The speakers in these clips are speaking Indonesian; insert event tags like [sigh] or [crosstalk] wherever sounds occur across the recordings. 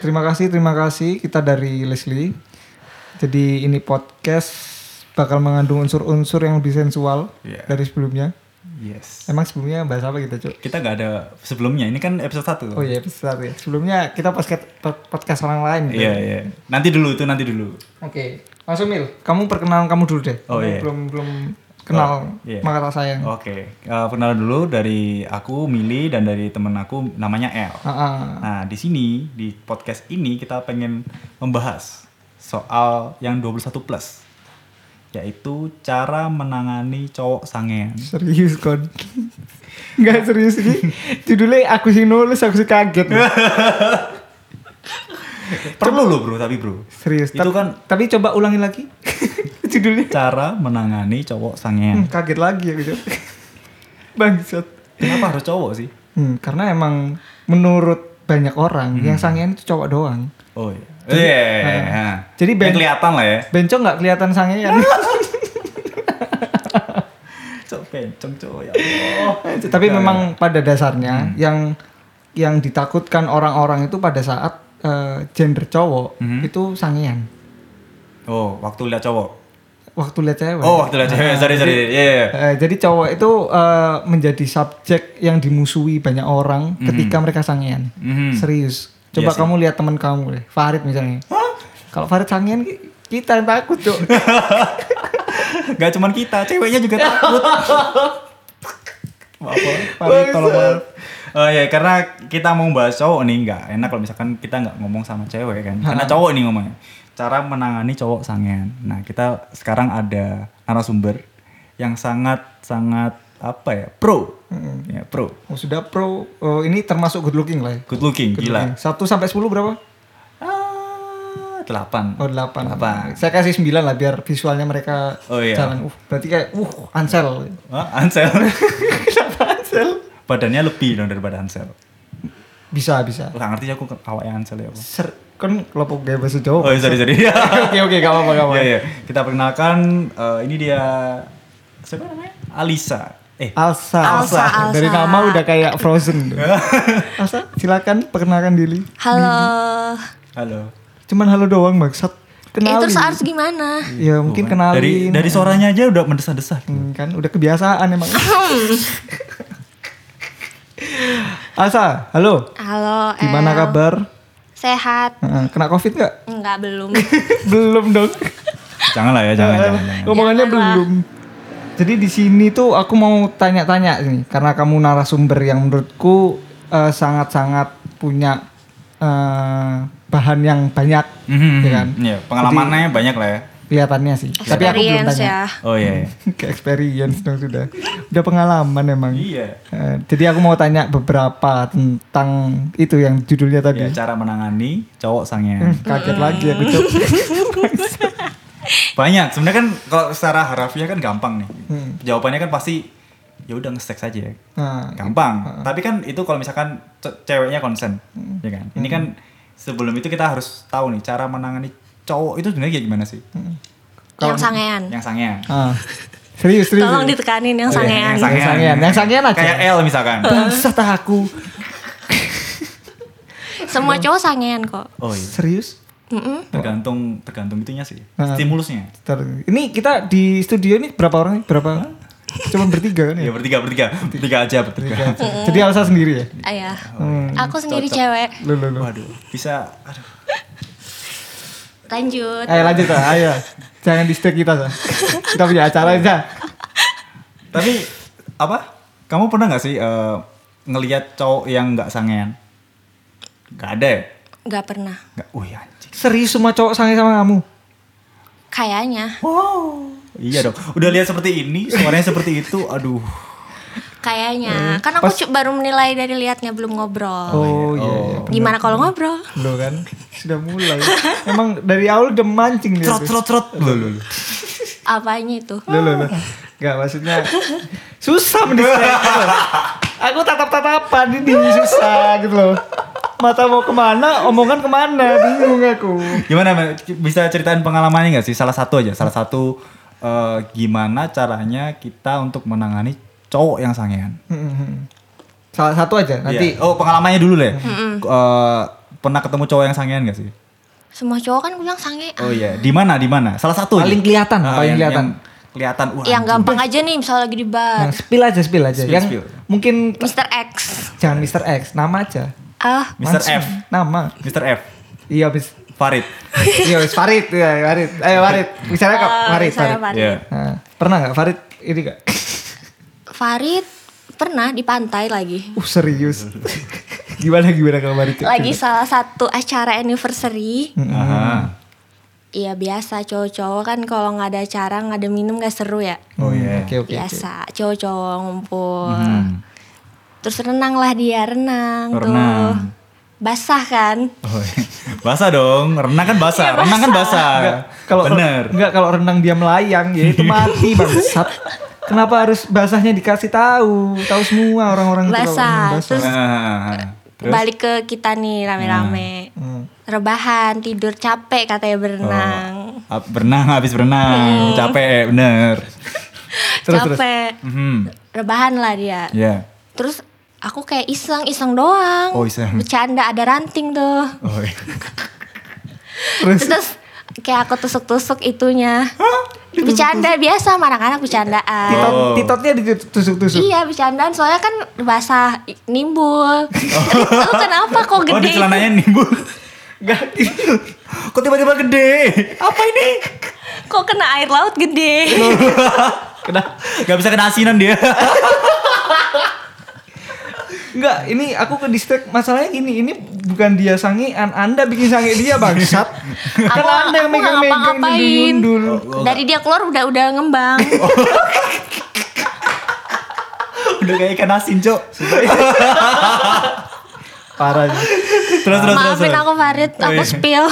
Terima kasih, terima kasih kita dari Leslie. Jadi ini podcast bakal mengandung unsur-unsur yang lebih sensual Iya. dari sebelumnya. Yes. Emang sebelumnya bahas apa kita, Cuk? Kita nggak ada sebelumnya. Ini kan episode 1. Oh iya, besar ya. Sebelumnya kita podcast podcast orang lain. gitu. Iya, iya. Nanti dulu itu nanti dulu. Oke, langsung Mil. Kamu perkenalan kamu dulu deh. Oh, Kamu iya. Belum belum kenal Oh, iya. maka tak sayang. Oke. Eh, perkenalan dulu dari aku Mili dan dari temen aku namanya El. Ah, ah. Nah, di sini di podcast ini kita pengen membahas soal yang 21 plus yaitu cara menangani cowok sangean. Serius kon. [laughs] Enggak serius ini. Judulnya aku sih nulis, aku sih [laughs] kaget. Perlu loh, Bro, tapi Bro. Serius. Itu Tap- kan- Tapi coba ulangi lagi. [laughs] Judulnya. Cara menangani cowok Hmm, sangean. kaget lagi ya gitu. [laughs] Bangsat. Kenapa harus cowok sih? Hmm, karena emang menurut banyak orang yang sangean itu cowok doang. Oh iya. Iya. iya. nah, Jadi Ya, band- kelihatan lah ya. Benco nggak kelihatan ya? sangean. Cok bencong cok ya Allah. [laughs] [laughs] Tapi memang pada dasarnya yang yang ditakutkan orang-orang itu pada saat eh, gender cowok Mhm. itu sangean. Oh, waktu lihat cowok. Waktu lihat cewek. Oh, waktu lihat cewek. Sorry, [laughs] sorry. Iya. iya, iya. Eh, jadi cowok itu eh, menjadi subjek yang dimusuhi banyak orang ketika mereka sangean. Mhm. Serius. Coba Iya sih. kamu lihat teman kamu deh, Farid misalnya. Kalau Farid sangean ki- kita yang takut, Cok. Gak cuman kita, ceweknya juga [laughs] takut. Maaf, Farid, Bangsat. tolong maaf. Oh ya, karena kita mau bahas cowok nih nggak enak kalau misalkan kita nggak ngomong sama cewek kan. Karena cowok nih ngomongnya. Cara menangani cowok sangean. Nah, kita sekarang ada narasumber yang sangat sangat apa ya? Pro. Ya, pro. [laughs] Oh, sudah pro. Oh, ini termasuk good looking lah. ya. Good looking, Good looking. gila. 1 sampai 10 berapa? Ah, delapan. Oh, 8. Delapan. Saya kasih 9 lah biar visualnya mereka Oh, iya. jalan. Uh, berarti kayak uh Ansel. Hah, Ansel. [laughs] Kenapa Ansel? Badannya lebih dong daripada Ansel. Bisa, bisa. Gak ngerti aku ke- awaknya Ansel ya. apa. Ser kan kelompok gaya bahasa Jawa. Oh, sorry, sorry. [laughs] [laughs] Oke, oke, gak apa-apa, gak apa-apa. Iya, iya. Kita perkenalkan eh, ini dia siapa namanya? Alisa. Eh, Alsa. Alsa, Alsa. Dari nama udah kayak [laughs] Frozen. tuh. Alsa, silakan perkenalkan diri. Halo. halo. Cuman halo doang maksud. Eh, Hmm. Kenalin. terus harus gimana? ya mungkin kenalin. Oh, Dari dari suaranya aja udah mendesah-desah. Hmm, kan udah kebiasaan emang. Alsa, halo. Halo. Gimana El. kabar? Sehat? Heeh, Kena covid nggak? [laughs] Enggak belum. belum dong. Jangan lah ya, jangan, Iya. jangan, jangan. Ngomongannya Jangan lah. belum. Jadi di sini tuh aku mau tanya-tanya nih karena kamu narasumber yang menurutku eh, sangat-sangat punya eh, bahan yang banyak Mhm, ya kan? Iya, pengalamannya banyak lah ya. kelihatannya sih. Tapi aku belum Experience tanya. ya. Oh iya. iya. [laughs] Ke experience dong sudah. Udah pengalaman emang. Iya. Eh, jadi aku mau tanya beberapa tentang itu yang judulnya Ya, tadi. cara menangani cowok Hmm, sangean. Kaget lagi aku Cok. Banyak. Sebenarnya kan kalau secara harafiah kan gampang nih. Hmm. Jawabannya kan pasti ya udah nge-sex aja ya. Nah, gampang tapi kan itu kalau misalkan ce- ceweknya konsen ya kan ini kan sebelum itu kita harus tahu nih cara menangani cowok itu sebenarnya kayak gimana sih Kalau- yang sangean. yang sangean ah. serius serius. Tolong serius. ditekanin yang Oh, iya, sangean. yang sangean. sangean. Yang sangean aja. kayak L misalkan Bangsat aku. Semua cowok sangean kok. oh iya Serius? Mm-mm. tergantung tergantung itunya sih Ah. stimulusnya Bentar. Ini kita di studio ini berapa orang? nih? Berapa? Cuma bertiga kan ya? ya bertiga bertiga bertiga aja bertiga [laughs] Jadi Alsa sendiri ya? Ayah. Hmm. Aku sendiri cewek. Lu, lu, lu. waduh bisa aduh Lanjut. Ayo Eh, lanjut Sa. ayo. Jangan di stick kita Sa. Kita punya acara aja. tapi apa kamu pernah nggak sih eh, ngelihat cowok yang nggak sangean nggak ada ya Enggak pernah. nggak wih anjing Serius semua cowok sange sama kamu? Kayaknya. Wow. Iya dong. Udah lihat seperti ini, suaranya seperti itu. Aduh. Kayaknya. Kan aku Eh, Pas- cu- baru menilai dari lihatnya belum ngobrol. Oh, iya iya. Gimana kalau ngobrol? Lo kan sudah mulai. Emang dari awal udah mancing dia. Trot tuh. trot trot. Loh, loh, loh. Apanya itu? Lo lo lo. Enggak maksudnya susah mendistract. Aku tatap-tatapan ini susah gitu loh. Mata mau kemana, omongan kemana, bingung aku. Gimana Mbak? bisa ceritain pengalamannya nggak sih? Salah satu aja, salah satu eh, gimana caranya kita untuk menangani cowok yang sangean. Mm-mm. Salah satu aja nanti. Iya. oh pengalamannya dulu deh. ya. Eh, pernah ketemu cowok yang sangean gak sih? Semua cowok kan bilang sange. Oh iya, di mana di mana? Salah satu aja. Paling kelihatan, Ah, paling yang- kelihatan. yang Kelihatan wah. Yang anjing. gampang aja nih misalnya lagi di Oh, Yang bar. spill aja, spill aja. Spill, yang spill. mungkin Mr. X. jangan Mr. X, nama aja. Ah, Mr. Langsung. F. Nama. Mr. F. Iya, Miss. Farid. Iya, Miss Farid, iya, Farid. Ayo Farid, bicara kok Ah, Farid, misalnya Farid. Farid. Iya. Nah, pernah nggak Farid ini gak? Farid pernah di pantai lagi. Uh [laughs] serius. gimana gimana kalau Farid? Lagi salah satu acara anniversary. Aha. Iya biasa cowok-cowok kan kalau nggak ada acara nggak ada minum nggak seru ya. Oh iya. Oke oke. oke. Biasa cowok-cowok ngumpul. Hmm. Terus renang lah dia renang, tuh. Renang. Basah kan? Oh, iya. basah dong. Renang kan basah. Iya, Renang kan basah. Nggak, Kalau bener. Enggak kalau renang dia melayang ya itu mati [laughs] bangsat. Kenapa harus basahnya dikasih tahu? Tahu semua orang-orang itu kalau Basah. renang Terus- Ah, terus Balik ke kita nih rame-rame. Hmm. Rebahan, tidur capek katanya berenang. Oh. ab- Nah, berenang habis berenang Iya. capek eh, bener. Terus, terus. capek. Mhm. Rebahan lah dia. Ya. Terus aku kayak iseng-iseng doang. Oh, iseng. Bercanda ada ranting tuh. Oh, iya. Terus Terus kayak aku tusuk-tusuk itunya. Bercanda biasa sama anak-anak bercandaan. titot, Oh. titotnya ditusuk-tusuk. Iya bercandaan soalnya kan basah i- [laughs] nimbul. Lu kenapa kok Oh, di gede? celananya nimbul. Ganti. Kok tiba-tiba gede? Apa ini? kok kena air laut gede? Kena. Gak bisa kena asinan dia. Enggak, ini aku ke distrik masalahnya gini, ini bukan dia sangean, Anda bikin sange dia bangsat. kan [laughs] Aku- Anda yang aku nggak megang-megang ngapa-ngapain. nyundul-nyundul. Oh. Dari dia keluar udah udah ngembang. Udah kayak ikan asin, Cok. Parah sih. Terus terus terus. Maafin terus. aku Farid, aku Iya. spill.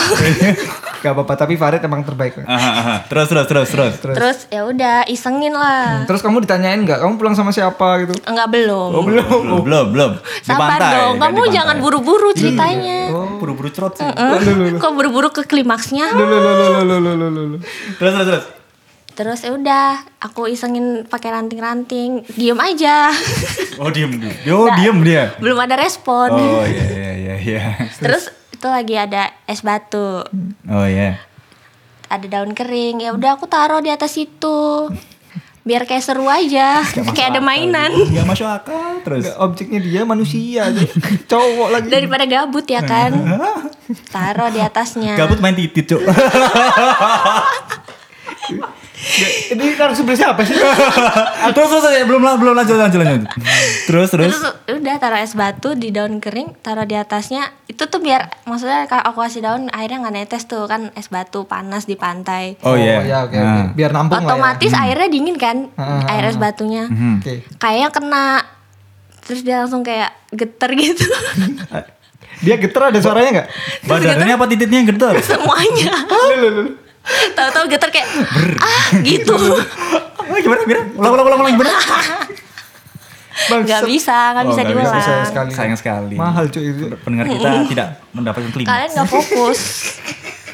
Gak apa-apa, tapi Farid emang terbaik. Aha, aha. Terus terus terus terus. Terus. Terus ya udah isengin lah. Terus kamu ditanyain nggak, kamu pulang sama siapa gitu? Enggak belum. Oh, belum, belum, belum, belum. Di Sabar pantai, dong, kan, di kamu pantai. jangan buru-buru ceritanya. Oh, buru-buru cerot sih. Eh, Kok buru-buru ke klimaksnya? Lu, lu, lu, lu, lu, lu, lu, lu, lu. Terus terus terus. Terus ya udah, aku isengin pakai ranting-ranting, diem aja. [laughs] Oh, diem dia. Oh, diem dia. belum ada respon. Oh, iya iya iya iya. Terus itu lagi ada es batu, Oh, iya. ada daun kering. Ya udah aku taruh di atas itu. Biar kayak seru aja, kayak ada mainan. Ya. Gak masuk akal terus. Nggak, objeknya dia manusia aja. Cowok lagi. Daripada gabut ya kan. Taruh di atasnya. Gabut main titit, [laughs] Cok. Ini narasumber siapa sih? Ah, terus terus terus. belum la- belum lanjut lanjut lanjut. Terus terus. Terus ya udah taruh es batu di daun kering, taruh di atasnya. Itu tuh biar maksudnya kalau aku kasih daun airnya nggak netes tuh kan es batu panas di pantai. Oh, iya. ya oke oke. Nah. Biar nampung lah ya. Otomatis airnya dingin kan, Ah, air es batunya. Hmm. Oke. Kayaknya kena terus dia langsung kayak geter gitu. [laughs] Dia geter ada suaranya nggak? Badannya apa titiknya yang getar? semuanya Lu, lu, lu. tahu-tahu getar kayak ah [laughs] gitu [laughs] Oh, gimana gimana? Ulang ulang ulang ulang gimana? Bangsat. nggak bisa nggak Oh, bisa nggak bisa, diulang Sayang sekali. Sayang sekali. Mahal cuy itu. Pendengar [laughs] kita tidak mendapatkan kalian klimaks. nggak fokus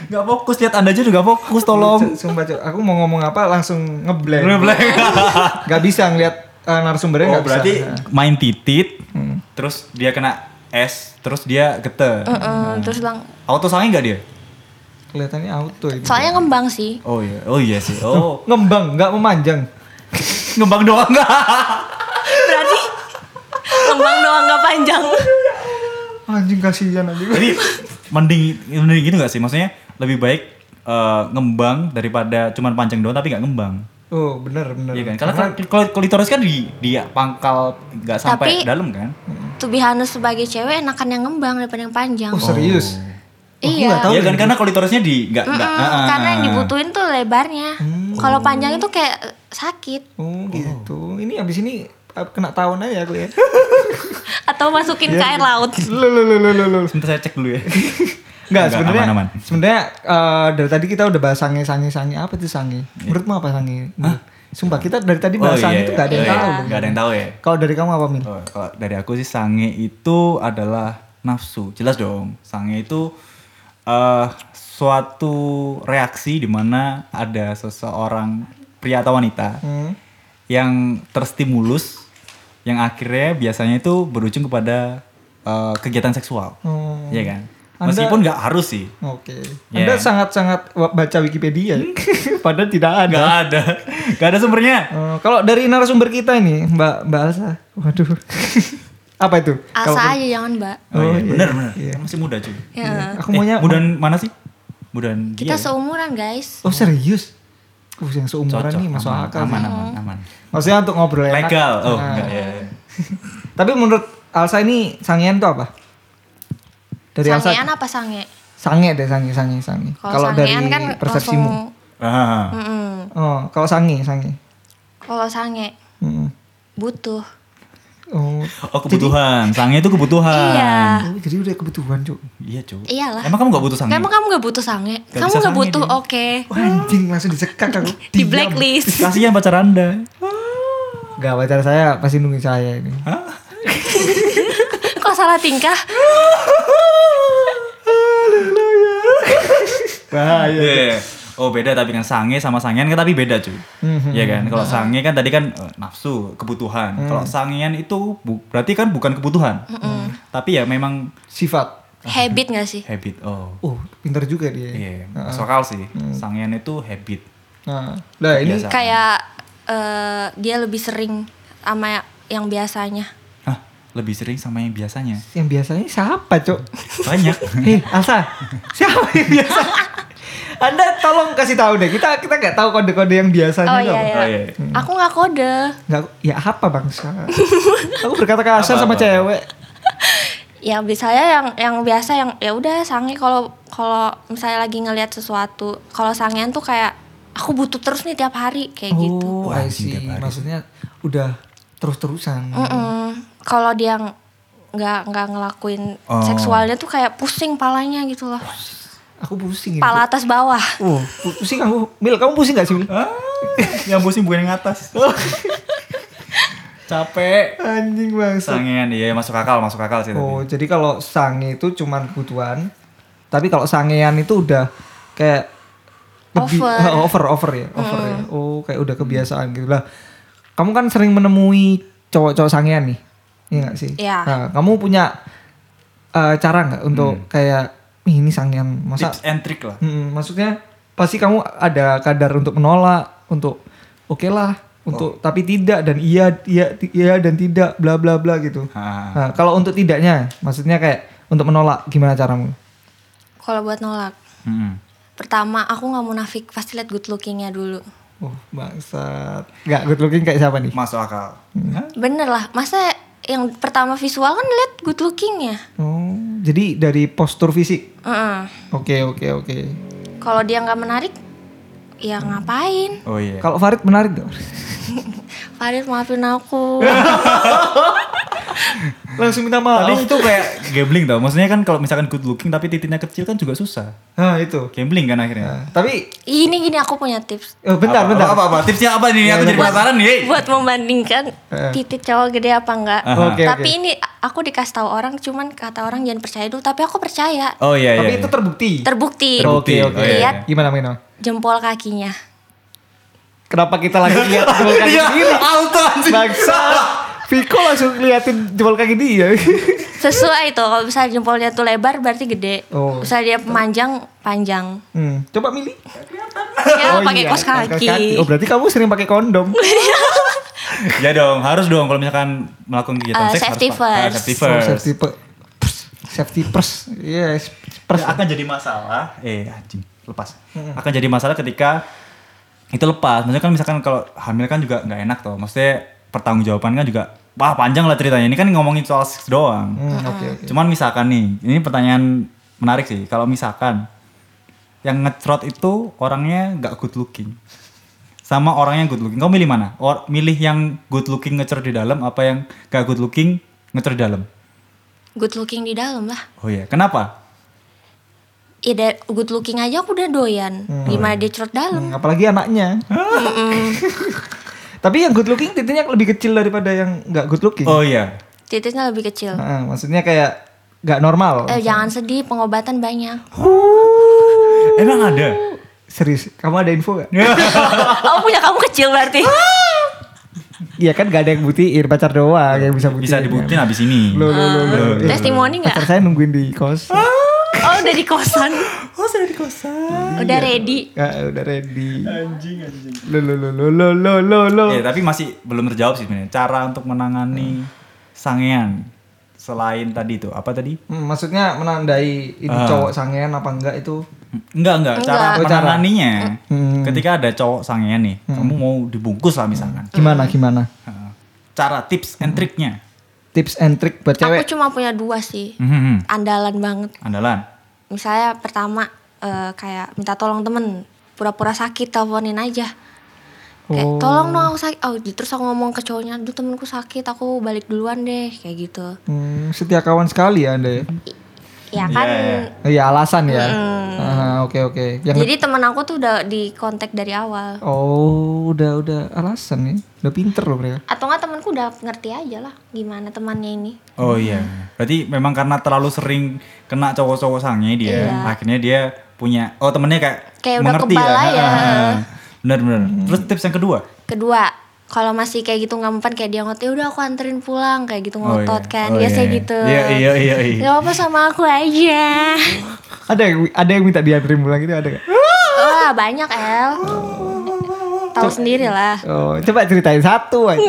Gak fokus lihat Anda aja juga fokus [laughs] tolong. Cuk, Sumpah cuy, aku mau ngomong apa langsung ngeblank. Black. Gak bisa ngeliat eh, narasumbernya Oh nggak bisa. [laughs] Nah, berarti main titit, terus dia kena es, terus dia geter. Heeh, Hmm. terus bilang Auto sange nggak dia? Kelihatannya auto itu. soalnya ngembang sih Oh iya, oh iya sih. Oh Ngembang, nggak memanjang. ngembang doang [laughs] nggak? berarti [laughs] ngembang doang nggak panjang Anjing kasihan aja. Jadi mending mending gitu nggak sih? Maksudnya lebih baik eh, ngembang daripada cuman panjang doang tapi nggak ngembang. Oh bener bener. Iya kan? Karena kl- kl- klitoris kan di dia pangkal nggak sampai Tapi- dalam kan? to be honest, sebagai cewek enakan yang ngembang daripada yang panjang Oh serius? iya Oh, Iya kan karena klitorisnya di nggak nggak. Mm-mm, ah, ah, ah. karena yang Hmm. dibutuhin tuh lebarnya kalau panjang itu kayak eh, sakit Oh gitu. Ini abis ini eh, kena tahun aja aku ya. atau masukin Iya. ke air laut Lu lu lu lu lu, lu. Sebentar saya cek dulu ya. Nggak, Nggak, sebenarnya aman, aman. sebenarnya eh, dari tadi kita udah bahas sange sange sange apa tuh sange? Menurutmu apa sange? Sumpah kita dari tadi bahas sange itu nggak ada yang Iya. Oh, iya. tahu. Nggak ada yang tahu ya. Kalau dari kamu apa Min? Oh, kalau dari aku sih sange itu adalah nafsu. Jelas dong. Sange itu eh suatu reaksi di mana ada seseorang pria atau wanita Hmm. yang terstimulus yang akhirnya biasanya itu berujung kepada eh, kegiatan seksual. Hmm. Iya kan? Anda- Meskipun nggak harus sih. Oke. Ya. Anda sangat-sangat wa- baca Wikipedia, [laughs] padahal tidak ada. Hmm. Nggak ada. [laughs] Nggak ada sumbernya. Eh, kalau dari narasumber kita ini, Mbak Mbak Alsa, [laughs] waduh, apa itu? Kalau- Asa aja jangan mbak. Oh, Oh, iya, iya, bener bener. iya. Kan masih muda cuy. Ya. Aku maunya. eh, mudahan mana sih? Mudahan Kita dia. Iya. ya? seumuran guys. Oh serius? Uh, yang seumuran Cocok, nih masuk aman, akal. Aman sih. aman aman. Maksudnya untuk ngobrol enak. Legal. Oh, Nah. enggak ya. ya. Tapi menurut Alsa ini sangean tuh apa? Dari Alsa Sangean apa sange? sange deh sange sange sange. Kalau Kalau dari sangean kan persepsimu. langsung. Ah. Mm-mm. Oh, kalau sange sange. Kalau sange Mm. butuh. Oh. Oh, kebutuhan. Sangnya itu kebutuhan. Iya. Oh, jadi udah kebutuhan cuk. Iya, cuy. Iyalah. Emang kamu nggak butuh Hmm. sangnya? Emang kamu nggak butuh sange? Nggak kamu bisa nggak sange butuh dia. oke. Wah, anjing langsung dicekak aku. [laughs] Di Diam. blacklist. Iya. Kasihan pacar Anda. Gak pacar saya pasti nungguin saya ini. [laughs] Kok salah tingkah? Bahaya. Iya. Oh beda tapi kan sange sama sangean kan tapi beda cuy. Mhm. Iya kan? Ah. Kalau sange kan tadi kan eh, nafsu, kebutuhan. Kalau sangean itu bu- berarti kan bukan kebutuhan. Tapi ya memang Sifat. Habit nggak sih? habit. Oh. Oh, pintar juga dia. Iya, Mm. masuk akal sih. Sangean itu habit. Nah, lah ini Biasa. Kayak eh, dia lebih sering sama yang biasanya. Hah, lebih sering sama yang biasanya. yang biasanya siapa, Cok? Banyak. [laughs] Hei, Eh, Alsa, siapa yang biasa? Anda tolong kasih tahu deh. Kita kita nggak tahu kode-kode yang biasanya Hmm. Oh iya, dong. iya. Oh, iya. Aku nggak kode. Nggak, ya apa bangsa? Aku berkata kasar Apa, sama apa, cewek. Ya misalnya yang yang biasa yang ya udah sange kalau kalau misalnya lagi ngelihat sesuatu. Kalau sangean tuh kayak aku butuh terus nih tiap hari kayak gitu. Oh, Wah, I see. anjing, tiap hari. Maksudnya udah terus-terusan. Mm. Mm-mm. Kalau dia ng- nggak nggak ngelakuin Oh. seksualnya tuh kayak pusing palanya gitu loh. Aku pusing. ini, Pala atas bawah. Cok. Oh, pu- pusing aku. Mil, kamu pusing gak sih, Mil? Ah, yang pusing bukan yang [laughs] atas. Capek. Anjing bangsa. Sangean iya masuk akal, masuk akal sih Oh, tadi. jadi kalau sange itu cuman kebutuhan. Tapi kalau sangean itu udah kayak Over. [laughs] Hmm. over over ya, over ya. Oh, kayak udah kebiasaan gitu lah. Kamu kan sering menemui cowok-cowok sangean nih. Iya gak sih? Iya. Nah, kamu punya eh, cara nggak untuk kayak "Ih, ini sangean masa Hmm. Tips and trick lah. Mm, maksudnya pasti kamu ada kadar untuk menolak, untuk oke lah, Oh. untuk tapi tidak dan iya iya ti- iya dan tidak bla bla bla gitu. Ah. Nah, kalau untuk tidaknya, maksudnya kayak untuk menolak gimana caramu? Kalau buat nolak. Mm-mm. Pertama aku nggak munafik pasti lihat good lookingnya dulu. Oh, bangsat. Gak good looking kayak siapa nih? Masuk akal. Hah? Hmm. Bener lah. Masa yang pertama visual kan lihat good lookingnya. Oh, jadi dari postur fisik. Heeh. Oke, oke, oke. Kalau dia nggak menarik, ya ngapain? Oh iya. Kalau Farid menarik gak? Farid maafin aku. Langsung minta Tapi maaf. itu kayak gambling tau. Maksudnya kan kalau misalkan good looking tapi titiknya kecil kan juga susah. Nah, itu. Gambling kan akhirnya. Nah, tapi ini gini aku punya tips eh, bentar, Apa- bentar. Iya, Apa, apa, apa? Tipsnya apa nih? Aku jadi penasaran nih. eh. buat membandingkan Eh. Ah. titik cowok gede apa enggak. Aha. Oke, tapi oke. ini aku dikasih tahu orang cuman kata orang jangan percaya dulu, tapi aku percaya. Oh iya iya. Tapi iya. itu terbukti. Terbukti Terbukti. Oke, oke. Oh, iya, Lihat. iya. Gimana, gimana? jempol kakinya. Kenapa kita [laughs] lagi lihat jempol kaki Iya, sendiri? auto anjing. Bangsa. Viko langsung liatin jempol kaki [laughs] dia. Sesuai tuh kalau misalnya jempolnya tuh lebar berarti gede. Oh. Misalnya dia panjang, panjang. hmm, coba milih. Ya pakai kaos kaki. Oh berarti kamu sering pakai kondom. Ya dong, harus dong kalau misalkan melakukan kegiatan Eh, seks safety harus pakai- first. safety Oh, first. safety pe- pers. Safety pers. Yes, pers. Ya, akan jadi masalah. Eh anjing, lepas. Akan jadi masalah ketika itu lepas. Maksudnya kan misalkan kalau hamil kan juga nggak enak tuh. Maksudnya pertanggungjawaban kan juga wah panjang lah ceritanya. Ini kan ngomongin soal seks doang. Hmm, oke oke. Cuman misalkan nih, ini pertanyaan menarik sih. Kalau misalkan yang ngecrot itu orangnya nggak good looking, sama orangnya good looking, kau milih mana? Or, milih yang good looking ngecrot di dalam, apa yang nggak good looking ngecrot di dalam? Good looking di dalam lah. Oh iya, kenapa? Ya dari good looking aja aku udah doyan. Gimana dia cerut dalam? Hmm, apalagi anaknya. [laughs] Tapi yang good looking titiknya lebih kecil daripada yang nggak good looking. Oh iya, Titiknya lebih kecil. Nah, maksudnya kayak nggak normal. Eh jangan sedih, pengobatan banyak. emang ada. Serius, kamu ada info gak? Ya. [laughs] oh punya kamu kecil [laughs] berarti. Iya kan gak ada yang butiin, pacar doang yang bisa butiin. Bisa dibuktiin abis ini. Loh, loh, loh, loh. Eh, Testimoni nggak? Pacar saya nungguin di kos. Oh udah di kosan [laughs] Oh saya di kosan. udah ready Ya, udah ready. Anjing anjing. Lo lo lo lo lo lo lo lo. Ya tapi masih belum terjawab sih sebenarnya. Cara untuk menangani sangean selain tadi itu apa tadi? Hmm, maksudnya menandai ini Ah. cowok sangean apa enggak itu? Enggak enggak. Cara Enggak. Oh, cara. menanganinya. Hmm. Ketika ada cowok sangean nih, kamu mau dibungkus lah misalkan. Gimana Ah. gimana? Heeh. Cara tips and triknya. Tips and trick buat aku cewek. cuma punya dua sih Mhm. andalan banget Andalan. misalnya pertama eh, kayak minta tolong temen pura-pura sakit teleponin aja kayak tolong dong aku sakit oh terus aku ngomong ke cowoknya aduh temenku sakit aku balik duluan deh kayak gitu Hmm, setia kawan sekali ya Anda ya. ya kan Iya, iya. Oh, Iya alasan ya. Aha, oke oke. Yang Ah. jadi temen aku tuh udah di kontak dari awal Oh, udah udah alasan ya. Udah pinter loh mereka. atau nggak temenku udah ngerti aja lah gimana temannya ini Oh iya. Berarti memang karena terlalu sering kena cowok-cowok sange dia, akhirnya dia punya oh temennya kayak Iya. Kayak udah mengerti kebal ya. lah. aja. Ah, Bener bener. Terus tips yang kedua? kedua kalau masih kayak gitu nggak mempan kayak dia ngotot "Ya udah aku anterin pulang kayak Oh, gitu iya. ngotot kan Oh, biasanya iya. gitu Iya iya iya. iya. Gak apa sama aku aja Ada yang ada yang minta dianterin pulang gitu ada gak? Wah Oh, banyak El Tahu sendiri lah Oh, coba ceritain satu [laughs] aja.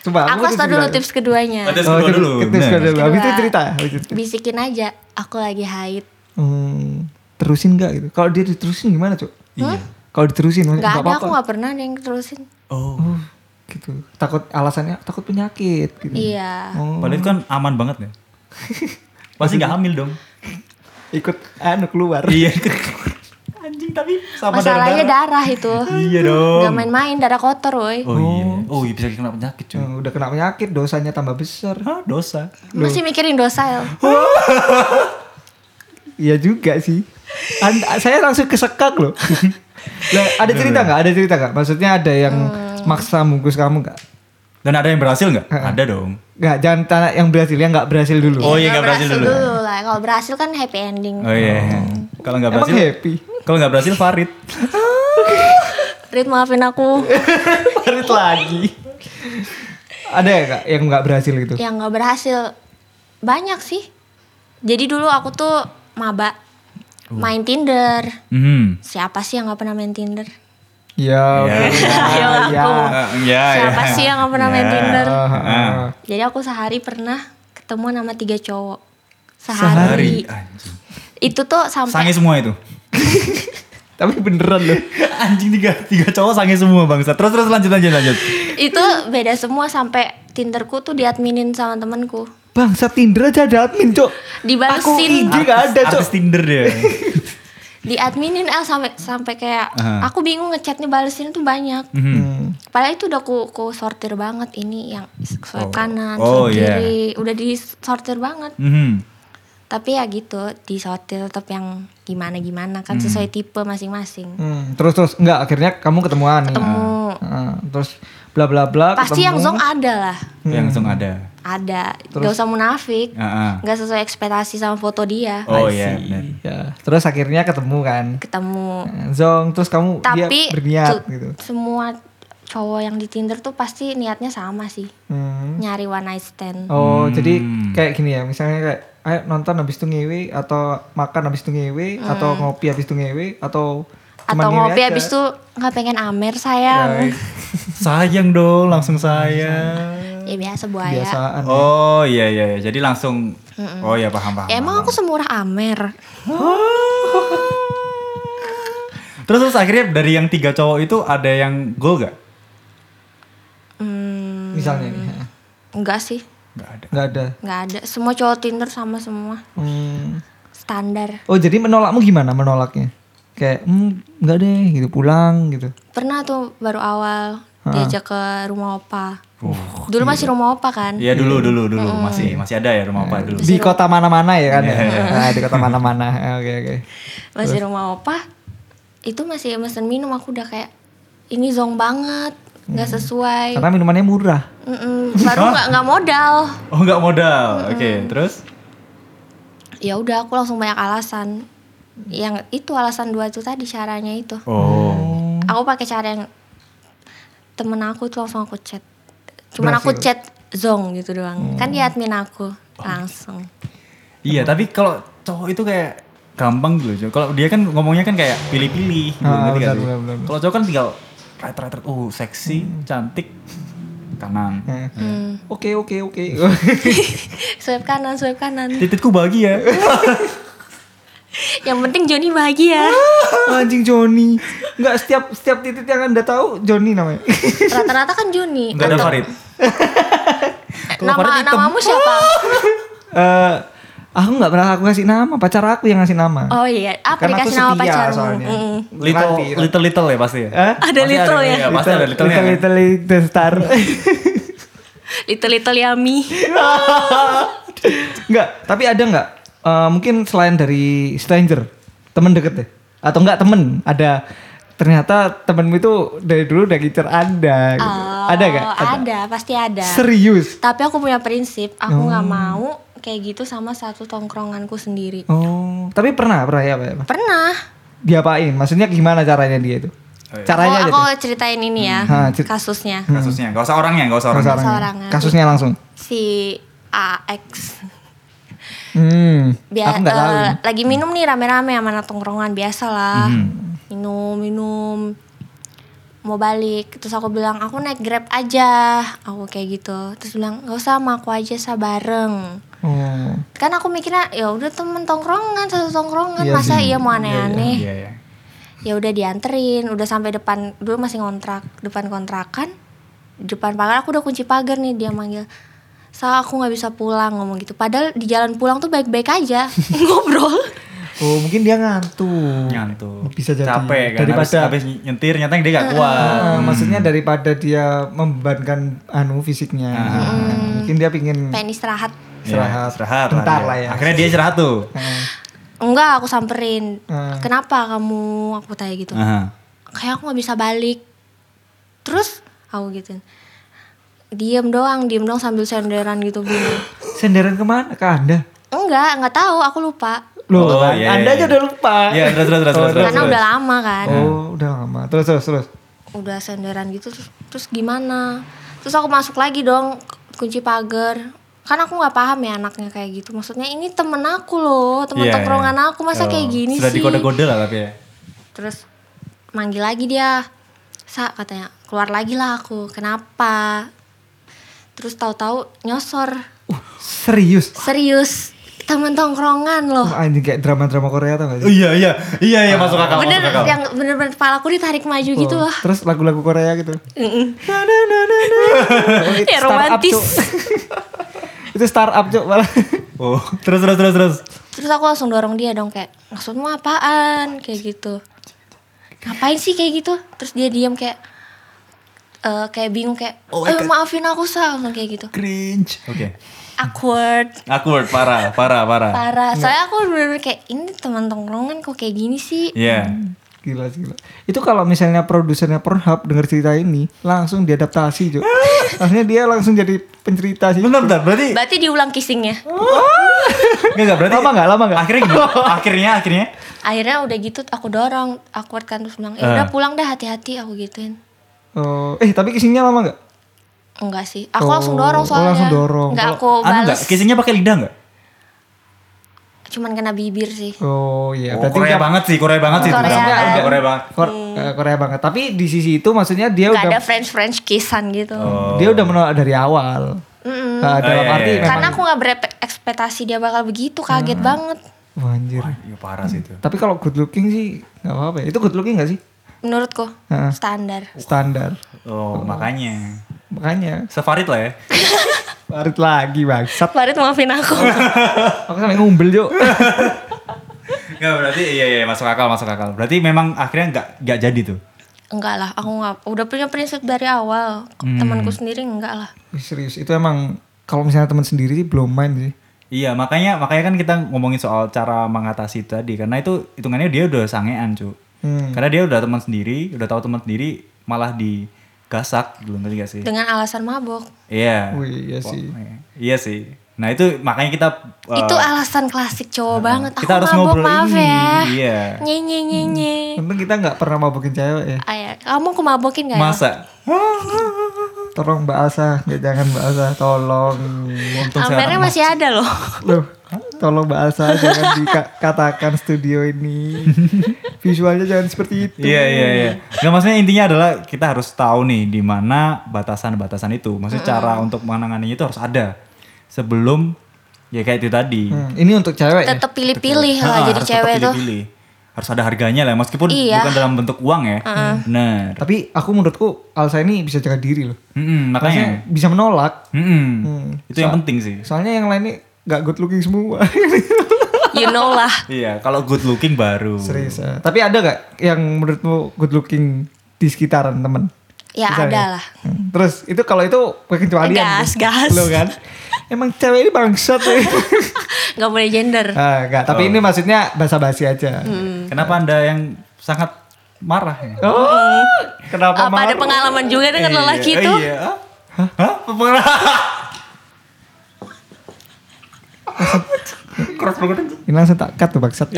Coba butuh Aku kasih tau dulu cerita. tips keduanya Ada Oh, kedua tips- dulu. tips bener. kedua dulu. Habis itu Kedua. cerita. habis itu. Bisikin aja Aku lagi haid Hmm, terusin gak gitu? Kalau dia diterusin gimana, Cuk? Iya. Kalau diterusin maksudnya Gak nggak ada aku apa-apa. gak pernah ada yang terusin Oh. Oh, gitu. Takut alasannya takut penyakit gitu. Iya Oh, Padahal itu kan aman banget [laughs] ya. Pasti nggak hamil dong. ikut anu keluar. [laughs] iya. Anjing tapi sama Masalahnya darah. darah itu Iya dong. Gak main-main darah kotor woi Oh iya. Oh iya bisa kena penyakit cuy. Hmm, udah kena penyakit, dosanya tambah besar. Hah, dosa. Masih mikirin dosa El Iya juga sih. An- saya langsung kesekak [laughs] loh. Lah, Iya, ada cerita nggak? Ada cerita nggak? Maksudnya ada yang Hmm. maksa bungkus kamu nggak? Dan ada yang berhasil nggak? Ada dong. Nggak, jangan tanya yang berhasil, yang nggak berhasil dulu. Oh iya nggak berhasil dulu. lah Kalau berhasil kan happy ending Oh iya. Kalau nggak Emang berhasil, [laughs] happy. kalau nggak berhasil Farid. Rit maafin aku Parit lagi. ada ya kak yang nggak berhasil gitu? Yang gak berhasil Banyak sih Jadi dulu aku tuh Maba Main Tinder Hmm. Siapa sih yang gak pernah main Tinder? Ya, [laughs] oke. Ayo aku ya, Siapa sih yang gak pernah main Iya. Tinder? Ah, ah, ah. Jadi aku sehari pernah ketemu sama tiga cowok. Hari. Sehari. Anjing. Itu tuh sampai Sange semua itu. Tapi beneran loh. [laughs] Anjing tiga tiga cowok sange semua bangsa. Terus terus lanjut lanjut lanjut. itu beda semua sampai Tinderku tuh diadminin sama temenku. Bangsa Tinder aja ada admin, Cok. Aku Dibalesin, IG nggak ada, Cok. Artis Tinder [laughs] dia. diadminin El sampai sampai kayak Aha. aku bingung ngechatnya balesin tuh banyak. Mhm. Hmm. Padahal itu udah ku, ku sortir banget ini yang Oh. swipe kanan, Oh, swipe iya. kiri, udah disortir banget. Mhm. Tapi ya gitu, disortir tetap yang gimana-gimana kan sesuai tipe masing-masing. Hmm, terus terus nggak akhirnya kamu ketemuan nih. Ketemu. Ah, terus bla bla bla. Pasti Ah, ketemu. yang zong ada lah. Yang langsung ada. Ah, Ada. Gak usah munafik. Heeh. Ah. Gak sesuai ekspektasi sama foto dia. I Oh iya. see. benar. Ya, terus akhirnya ketemu kan. Ketemu. Zong, terus kamu dia Tapi berniat tu- gitu. semua cowok yang di Tinder tuh pasti niatnya sama sih. Hmm. Nyari one night stand. Oh, jadi kayak gini ya, misalnya kayak ayo nonton habis itu ngewe atau makan habis itu ngewe atau ngopi habis itu ngewe atau Hmm. Atau ngopi habis ya. itu nggak pengen amer Oh, iya. sayang. Sayang dong, langsung sayang. Ya biasa buaya. biasaan. Oh iya iya, iya. jadi langsung. Oh iya paham paham. Ya, emang aku semurah amer. Terus terus akhirnya dari yang tiga cowok itu ada yang goal gak? Hmm, Misalnya nih. ha. enggak sih. Gak ada. nggak ada. Nggak ada. Semua cowok Tinder sama semua. Hmm. Standar. Oh, jadi menolakmu gimana menolaknya? Kayak hmm, nggak deh gitu pulang gitu. Pernah tuh baru awal diajak ke rumah opa. Dulu masih rumah opa kan. Iya dulu dulu dulu masih masih ada Iya, ya rumah apa dulu. Di kota mana-mana ya kan ya. Nah, di kota mana-mana. Ah, Oke oke. Eh. masih rumah opa itu masih mesen minum aku udah kayak ini zong banget nggak sesuai Karena minumannya murah. Mm-mm, baru nggak nggak modal Oh nggak modal. Oke terus. ya udah aku langsung banyak alasan yang itu alasan dua itu tadi caranya itu Oh. aku pakai cara yang temen aku tuh langsung aku chat cuman aku chat zong gitu Hmm. Oh. doang kan dia admin aku langsung Iya tapi kalau cowok itu kayak gampang gitu loh. Jo. Kalau dia kan ngomongnya kan kayak pilih-pilih gitu, Ah, ngerti nggak benar, sih? benar, benar, benar. Kalau cowok kan tinggal right right right. Oh, seksi, cantik, kanan. Ah. Hmm. Oke oke oke. [laughs] swipe kanan swipe kanan Titikku bahagia. [laughs] yang penting Joni bahagia [laughs] Anjing Joni. Enggak setiap setiap titik yang anda tahu Joni namanya. [laughs] rata-rata kan Joni Enggak ada Atau- [laughs] Farid. Eh, nama namamu [laughs] siapa Eh, aku nggak pernah aku kasih nama. Pacar aku yang ngasih nama. oh iya apa Karena dikasih aku nama setia pacarmu soalnya. Mm-mm. Little, Ranti, Ranti. little little ya pasti ya. Hah? ada Pasti little ada, ya iya, pasti ada little little-nya kan? little, little star. [laughs] little little yummy Enggak, tapi ada nggak? eh, mungkin selain dari stranger, temen deket deh. Atau enggak temen, ada ternyata temenmu itu dari dulu udah ngincer anda gitu. Oh, [laughs] ada gak? ada pasti ada Serius? Hmm. tapi aku punya prinsip aku nggak mau kayak gitu sama satu tongkronganku sendiri Oh, tapi pernah, pernah ya Pak? ya, Pak? pernah Diapain? Maksudnya gimana caranya dia itu? Oh, iya. Caranya aja aku, aku deh. ceritain ini ya Hmm. Ha, cer- kasusnya Kasusnya, gak usah orangnya, gak usah orangnya. Kasarannya. seorang aja. Kasusnya langsung. si AX Hmm, Bia- aku nggak tahu. eh, ini. Hmm. lagi minum nih rame-rame sama anak tongkrongan biasa lah Hmm. minum minum mau balik terus aku bilang aku naik grab aja aku kayak gitu terus bilang gak usah sama aku aja sa bareng Oh. kan aku mikirnya ya udah temen tongkrongan satu tongkrongan Iya masa sih. iya mau aneh-aneh Iya, iya. ya udah dianterin udah sampai depan dulu masih ngontrak depan kontrakan depan pagar aku udah kunci pagar nih dia manggil sa aku nggak bisa pulang ngomong gitu padahal di jalan pulang tuh baik-baik aja [laughs] ngobrol Oh, mungkin dia ngantuk. Ngantuk. Bisa jadi. Capek kan. Daripada Habis, habis nyetir, nyata dia gak kuat. Hmm. Ah, maksudnya daripada dia membebankan anu fisiknya. Ah. Nah, Mungkin dia pingin pengen istirahat Istirahat. Ya, istirahat Bentar dia. lah ya. Akhirnya dia istirahat tuh. eh, enggak aku samperin Hmm. kenapa kamu aku tanya gitu Aha. kayak aku nggak bisa balik terus aku gituin diem doang diem doang sambil senderan gitu bingung senderan kemana ke anda? enggak nggak tahu aku lupa Loh, Oh, kan? iya, anda iya, aja iya. udah lupa. Iya, terus terus terus terus. karena terus. udah lama kan Oh, udah lama. Terus terus terus. udah senderan gitu terus terus gimana terus aku masuk lagi dong kunci pagar kan aku nggak paham ya anaknya kayak gitu maksudnya ini temen aku loh Iya, temen iya. tongkrongan aku masa Oh, kayak gini Sudah sih dikode-kode lah tapi ya. terus manggil lagi dia sa katanya keluar lagi lah aku kenapa terus tahu-tahu nyosor Uh, serius. serius temen tongkrongan loh Wah, Anjing kayak drama-drama Korea tau gak sih? Iya iya iya iya Ah. masuk akal bener masuk akal. yang bener-bener kepala aku ditarik maju gitu Oh, loh Terus lagu-lagu Korea gitu. Na, na, na, na, na. Oh, itu [laughs] Ya, startup, romantis. Cuk. [laughs] itu startup cuk malah. [laughs] Oh [laughs] terus terus terus terus. terus aku langsung dorong dia dong kayak maksudmu apaan kayak gitu ngapain sih kayak gitu terus dia diam kayak eh, kayak bingung kayak Oh my eh God. maafin aku sal Langsung kayak gitu Cringe. Oke. awkward Awkward parah parah parah. parah soalnya aku bener-bener kayak ini teman tongkrongan kok kayak gini sih Iya. Hmm. Gila sih, gila. Itu kalau misalnya produsernya Pornhub denger cerita ini, langsung diadaptasi, [laughs] Cuk. Maksudnya dia langsung jadi pencerita sih. Bentar bentar berarti berarti diulang kissingnya enggak enggak berarti Lama nggak? Lama nggak? Akhirnya [laughs] gimana? akhirnya akhirnya akhirnya udah gitu aku dorong awkward kan terus bilang ya Eh. udah pulang dah hati-hati aku gituin Oh, eh tapi kissingnya lama nggak? enggak sih aku Oh, langsung dorong oh, soalnya langsung dorong. enggak Kalau- aku anu enggak balas kissingnya pakai lidah enggak? cuman kena bibir sih Oh iya, Oh, Korea udah- banget sih, Korea banget sih. itu. Korea. Udah, udah Korea banget. Kor- eh, Korea banget. Tapi di sisi itu maksudnya dia Hmm. nggak udah Oh. ada French French kissan gitu dia udah menolak dari awal. Mm-mm. Nah, dalam Oh, iya, arti memang iya. Hmm. Hmm. karena aku nggak berekspektasi dia bakal begitu kaget banget Wah, anjir. Iya parah sih itu. Tapi kalau good looking sih nggak apa-apa. ya. Itu good looking nggak sih? menurutku Hmm. Heeh. standar Standar. Oh, makanya. Makanya Sefarid lah [laughs] ya. Farid lagi bangsat. Farid maafin aku Aku sampai ngumbel, [laughs] Cuk. Enggak berarti iya iya masuk akal masuk akal. Berarti memang akhirnya enggak enggak jadi tuh. [laughs] enggak lah aku nggak udah punya prinsip dari awal Hmm. temanku sendiri enggak lah Ih, Serius, itu emang kalau misalnya teman sendiri sih belum main sih. Iya, makanya makanya kan kita ngomongin soal cara mengatasi tadi karena itu hitungannya dia udah sangean, cu. Hmm. Karena dia udah teman sendiri, udah tahu teman sendiri malah digasak dulu ngerti gak sih? dengan alasan mabok Iya. Wih, iya sih. Iya sih. Nah, itu makanya kita uh, itu alasan klasik cowok banget aku Hmm. kita harus mabok ngobrol maaf ini, ya iya. nye nye nye nye Untung kita nggak pernah mabokin cewek Hmm. ya. Ayah, kamu aku mabokin gak ya? masa Tolong Mbak Asa, ya jangan Mbak Asa, tolong. untung saya Ampernya orang [laughs] masih ada loh Loh, Tolong bahasa jangan dikatakan studio ini. Visualnya jangan seperti itu. Iya iya iya. Hmm. Nggak maksudnya intinya adalah kita harus tahu nih di mana batasan-batasan itu. Maksudnya Hmm. cara untuk menanganinya itu harus ada sebelum ya kayak itu tadi. Hmm, ini untuk cewek ya? Tetap pilih-pilih Ah, lah Iya, jadi harus tetap cewek tuh. pilih-pilih. Harus ada harganya lah meskipun Iya. Hmm. bukan dalam bentuk uang ya. Bener. Tapi aku menurutku Alsa ini bisa jaga diri loh. Mm-mm, Hmm, makanya. Maksudnya bisa menolak. Mm-mm. Hmm. Itu yang penting sih. Soalnya yang lain ini gak good looking semua. [laughs] You know lah. Iya, kalau good looking baru. Serius. eh. Tapi ada gak yang menurutmu good looking di sekitaran temen? Ya Misalnya. ada lah. [laughs] Hmm. Terus itu kalau itu kecualian. Gas, tuh. gas. Lo kan? Emang cewek ini bangsat [laughs] ya. Gak boleh gender. Ah, enggak, tapi Oh. ini maksudnya basa-basi aja. Hmm. Kenapa Anda yang sangat marah ya? Oh, kenapa Apa ada marah? pengalaman juga dengan lelaki Iya, itu? Iya. Hah? Hah? [laughs] Pengalaman. Cross program. Ini langsung tak cut tuh bangsat.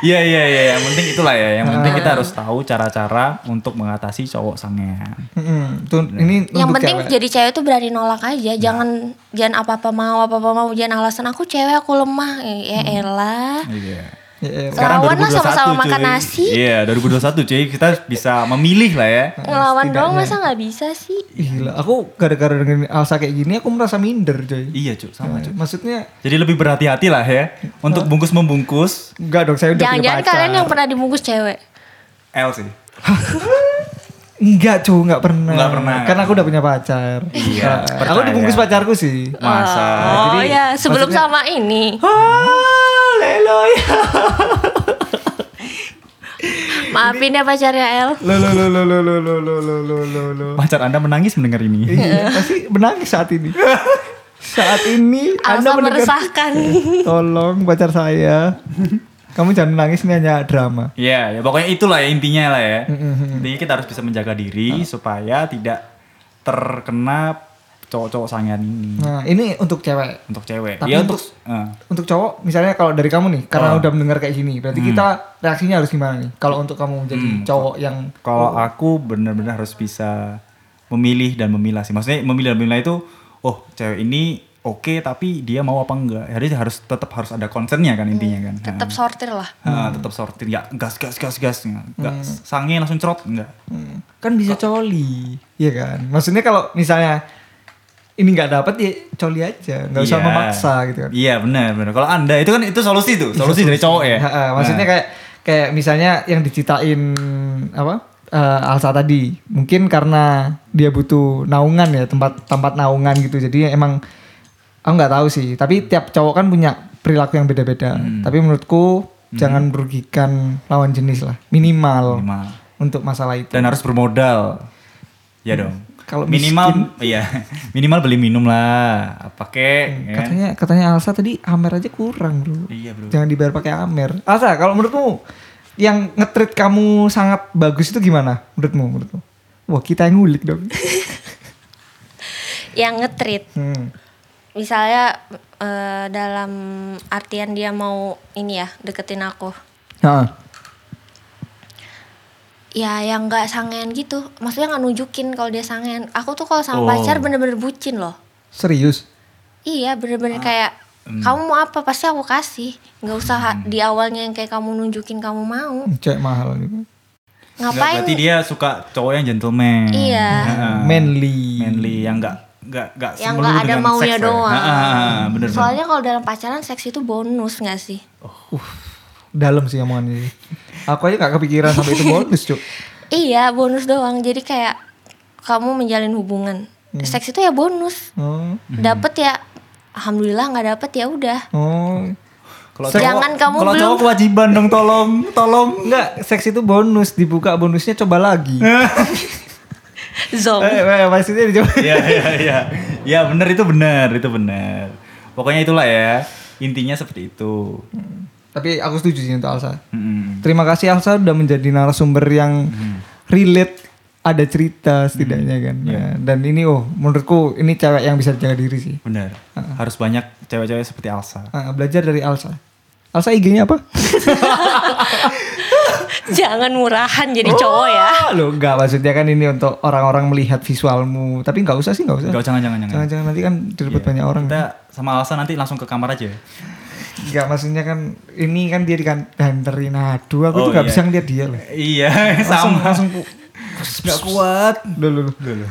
Iya iya iya, yang penting itulah ya. Yang penting Ah. kita harus tahu cara-cara untuk mengatasi cowok sangean. Mm-mm. Tuh, Hmm, ini Yang untuk penting cewek. jadi cewek tuh berani nolak aja. Jangan jangan apa-apa mau, apa-apa mau. Jangan alasan aku cewek, aku lemah. Eh, Ya Hmm. elah. Iya. Ya, ya. Lawan lah sama-sama cuy. makan nasi. Iya, 2021 cuy, kita bisa memilih lah ya. Ngelawan doang masa nggak bisa sih? Gila, aku gara-gara dengan Alsa kayak gini aku merasa minder, coy. Iya, cuy, sama cuy. Maksudnya Jadi lebih berhati-hati lah ya untuk bungkus membungkus enggak dong, saya udah punya Jangan-jangan pacar. kalian yang pernah dibungkus cewek. L sih. Enggak, cuy, enggak pernah. Enggak pernah. Karena aku udah punya pacar. Iya, Nah, aku percaya. dibungkus pacarku sih. Masa. Ah, Oh ya, sebelum sama ini. Oh, Haleluya. Maafin ya pacarnya El. Lo lo lo lo lo lo lo lo lo lo lo lo. Pacar Anda menangis mendengar ini. Iya, pasti menangis saat ini. saat ini Anda Iya. Alsa mendengar [laughs] meresahkan. tolong pacar saya. Kamu jangan menangis ini hanya drama. Iya, ya pokoknya itulah ya intinya lah ya. Intinya kita harus bisa menjaga diri supaya tidak terkena cowok-cowok sangean ini Nah, ini untuk cewek. untuk cewek. Tapi Iya untuk- untuk eh, Untuk cowok misalnya kalau dari kamu nih karena udah mendengar kayak gini, berarti kita reaksinya harus gimana nih? Kalau untuk kamu menjadi cowok yang kalau aku benar-benar harus bisa memilih dan memilah sih. Maksudnya memilih dan memilah itu oh, cewek ini oke tapi dia mau apa enggak. Jadi harus tetap harus ada concernnya kan intinya kan. Tetap sortir lah. Ah, tetap sortir nggak gas gas gas gas nggak nggak sange langsung cerot nggak Hmm, kan bisa coli, iya kan? Maksudnya kalau misalnya ini nggak dapet ya coli aja, nggak usah Iya. memaksa gitu kan. iya benar benar kalau anda itu kan itu solusi tuh solusi dari cowok ya Ha, ha, maksudnya Nah, kayak kayak misalnya yang diceritain apa eh, Alsa tadi, mungkin karena dia butuh naungan ya tempat tempat naungan gitu, jadi emang aku nggak tahu sih. Hmm. Tapi tiap cowok kan punya perilaku yang beda-beda. Tapi menurutku Hmm. jangan merugikan lawan jenis lah, minimal, minimal untuk masalah itu. dan harus bermodal ya dong Iya, Kalau minimal iya [laughs] minimal beli minum lah pakai ya kan? Hmm, Katanya katanya Alsa tadi Amer aja kurang bro. iya bro Jangan dibayar pakai Amer. Alsa, kalau menurutmu yang ngetrit kamu sangat bagus itu gimana? Menurutmu, menurutmu? Wah kita yang ngulik [laughs] dong. Yang ngetrit. hmm. Misalnya eh, dalam artian dia mau ini ya, deketin aku. Ha. Ya yang nggak sangean gitu. Maksudnya nggak nunjukin kalau dia sangean. Aku tuh kalau sama Oh. pacar bener-bener bucin loh. Serius? Ah, Iya bener-bener kayak hmm. kamu mau apa pasti aku kasih. Nggak usah ha- di awalnya yang kayak kamu nunjukin kamu mau. Hmm, Cewek mahal gitu. Nggak, Ngapain? berarti dia suka cowok yang gentleman Iya. Ah, Manly. manly yang nggak nggak nggak Yang melulu nggak ada dengan maunya seks, ya. doang. Ah, ah, ah, bener bener. Soalnya kalau dalam pacaran seks itu bonus nggak sih? Dalam sih omongannya. Aku aja gak kepikiran sampai itu bonus cuk. Iya bonus doang. Jadi kayak kamu menjalin hubungan. Hmm. Seks itu ya bonus. Oh. Dapet ya alhamdulillah nggak dapet ya udah. Oh. Kalau Jangan cowok- kamu kalau belum- cowok kewajiban dong tolong tolong Enggak, seks itu bonus. Dibuka bonusnya coba [laughs] lagi. Zong. eh, eh, maksudnya dicoba. Iya iya iya. Ya benar itu benar, itu benar. Pokoknya itulah ya. Intinya seperti itu. Tapi aku setuju sih untuk Alsa. Mm-mm. Terima kasih Alsa udah menjadi narasumber yang Hmm. relate ada cerita setidaknya kan. Ya. Nah, Dan ini oh menurutku ini cewek yang bisa jaga diri sih. Benar. Harus banyak cewek-cewek seperti Alsa. Ah, belajar dari Alsa. Alsa IG-nya apa? [laughs] Jangan murahan jadi cowok Ah, ya. [laughs] Lo enggak maksudnya kan ini untuk orang-orang melihat visualmu. Tapi nggak usah sih, nggak usah. Enggak, jangan, jangan, jangan. Jangan-jangan nanti kan direbut banyak orang. Kita sama alasan nanti langsung ke kamar aja. ya. Enggak maksudnya kan ini kan dia dikanterin aduh aku Oh, tuh nggak iya. bisa ngeliat dia loh. Iya, sama. langsung Gak kuat. Loh, loh, loh. Dulu.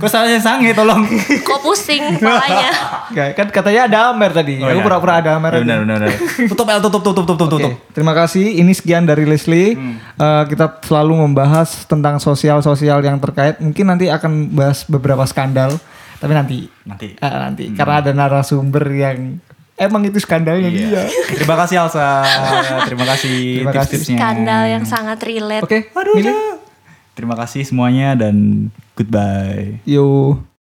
Kok salahnya sange [laughs] tolong. Kok pusing [laughs] kepalanya. Enggak, kan katanya ada Amer tadi. Oh, aku iya. pura-pura ada Amer. Ya, aja. Benar, benar, benar. Tutup El, tutup, tutup, tutup, tutup, Oke, tutup. terima kasih. Ini sekian dari Leslie. Eh, kita selalu membahas tentang sosial-sosial yang terkait. Mungkin nanti akan bahas beberapa skandal, tapi nanti Nanti. Eh, nanti karena ada narasumber yang emang itu skandalnya dia. Terima kasih Alsa. Terima kasih iya. [laughs] Terima kasih. tips-tipsnya. Skandal ya. yang sangat relate. Oke, Aduh, Mili. ya. Terima kasih semuanya dan goodbye. Yo.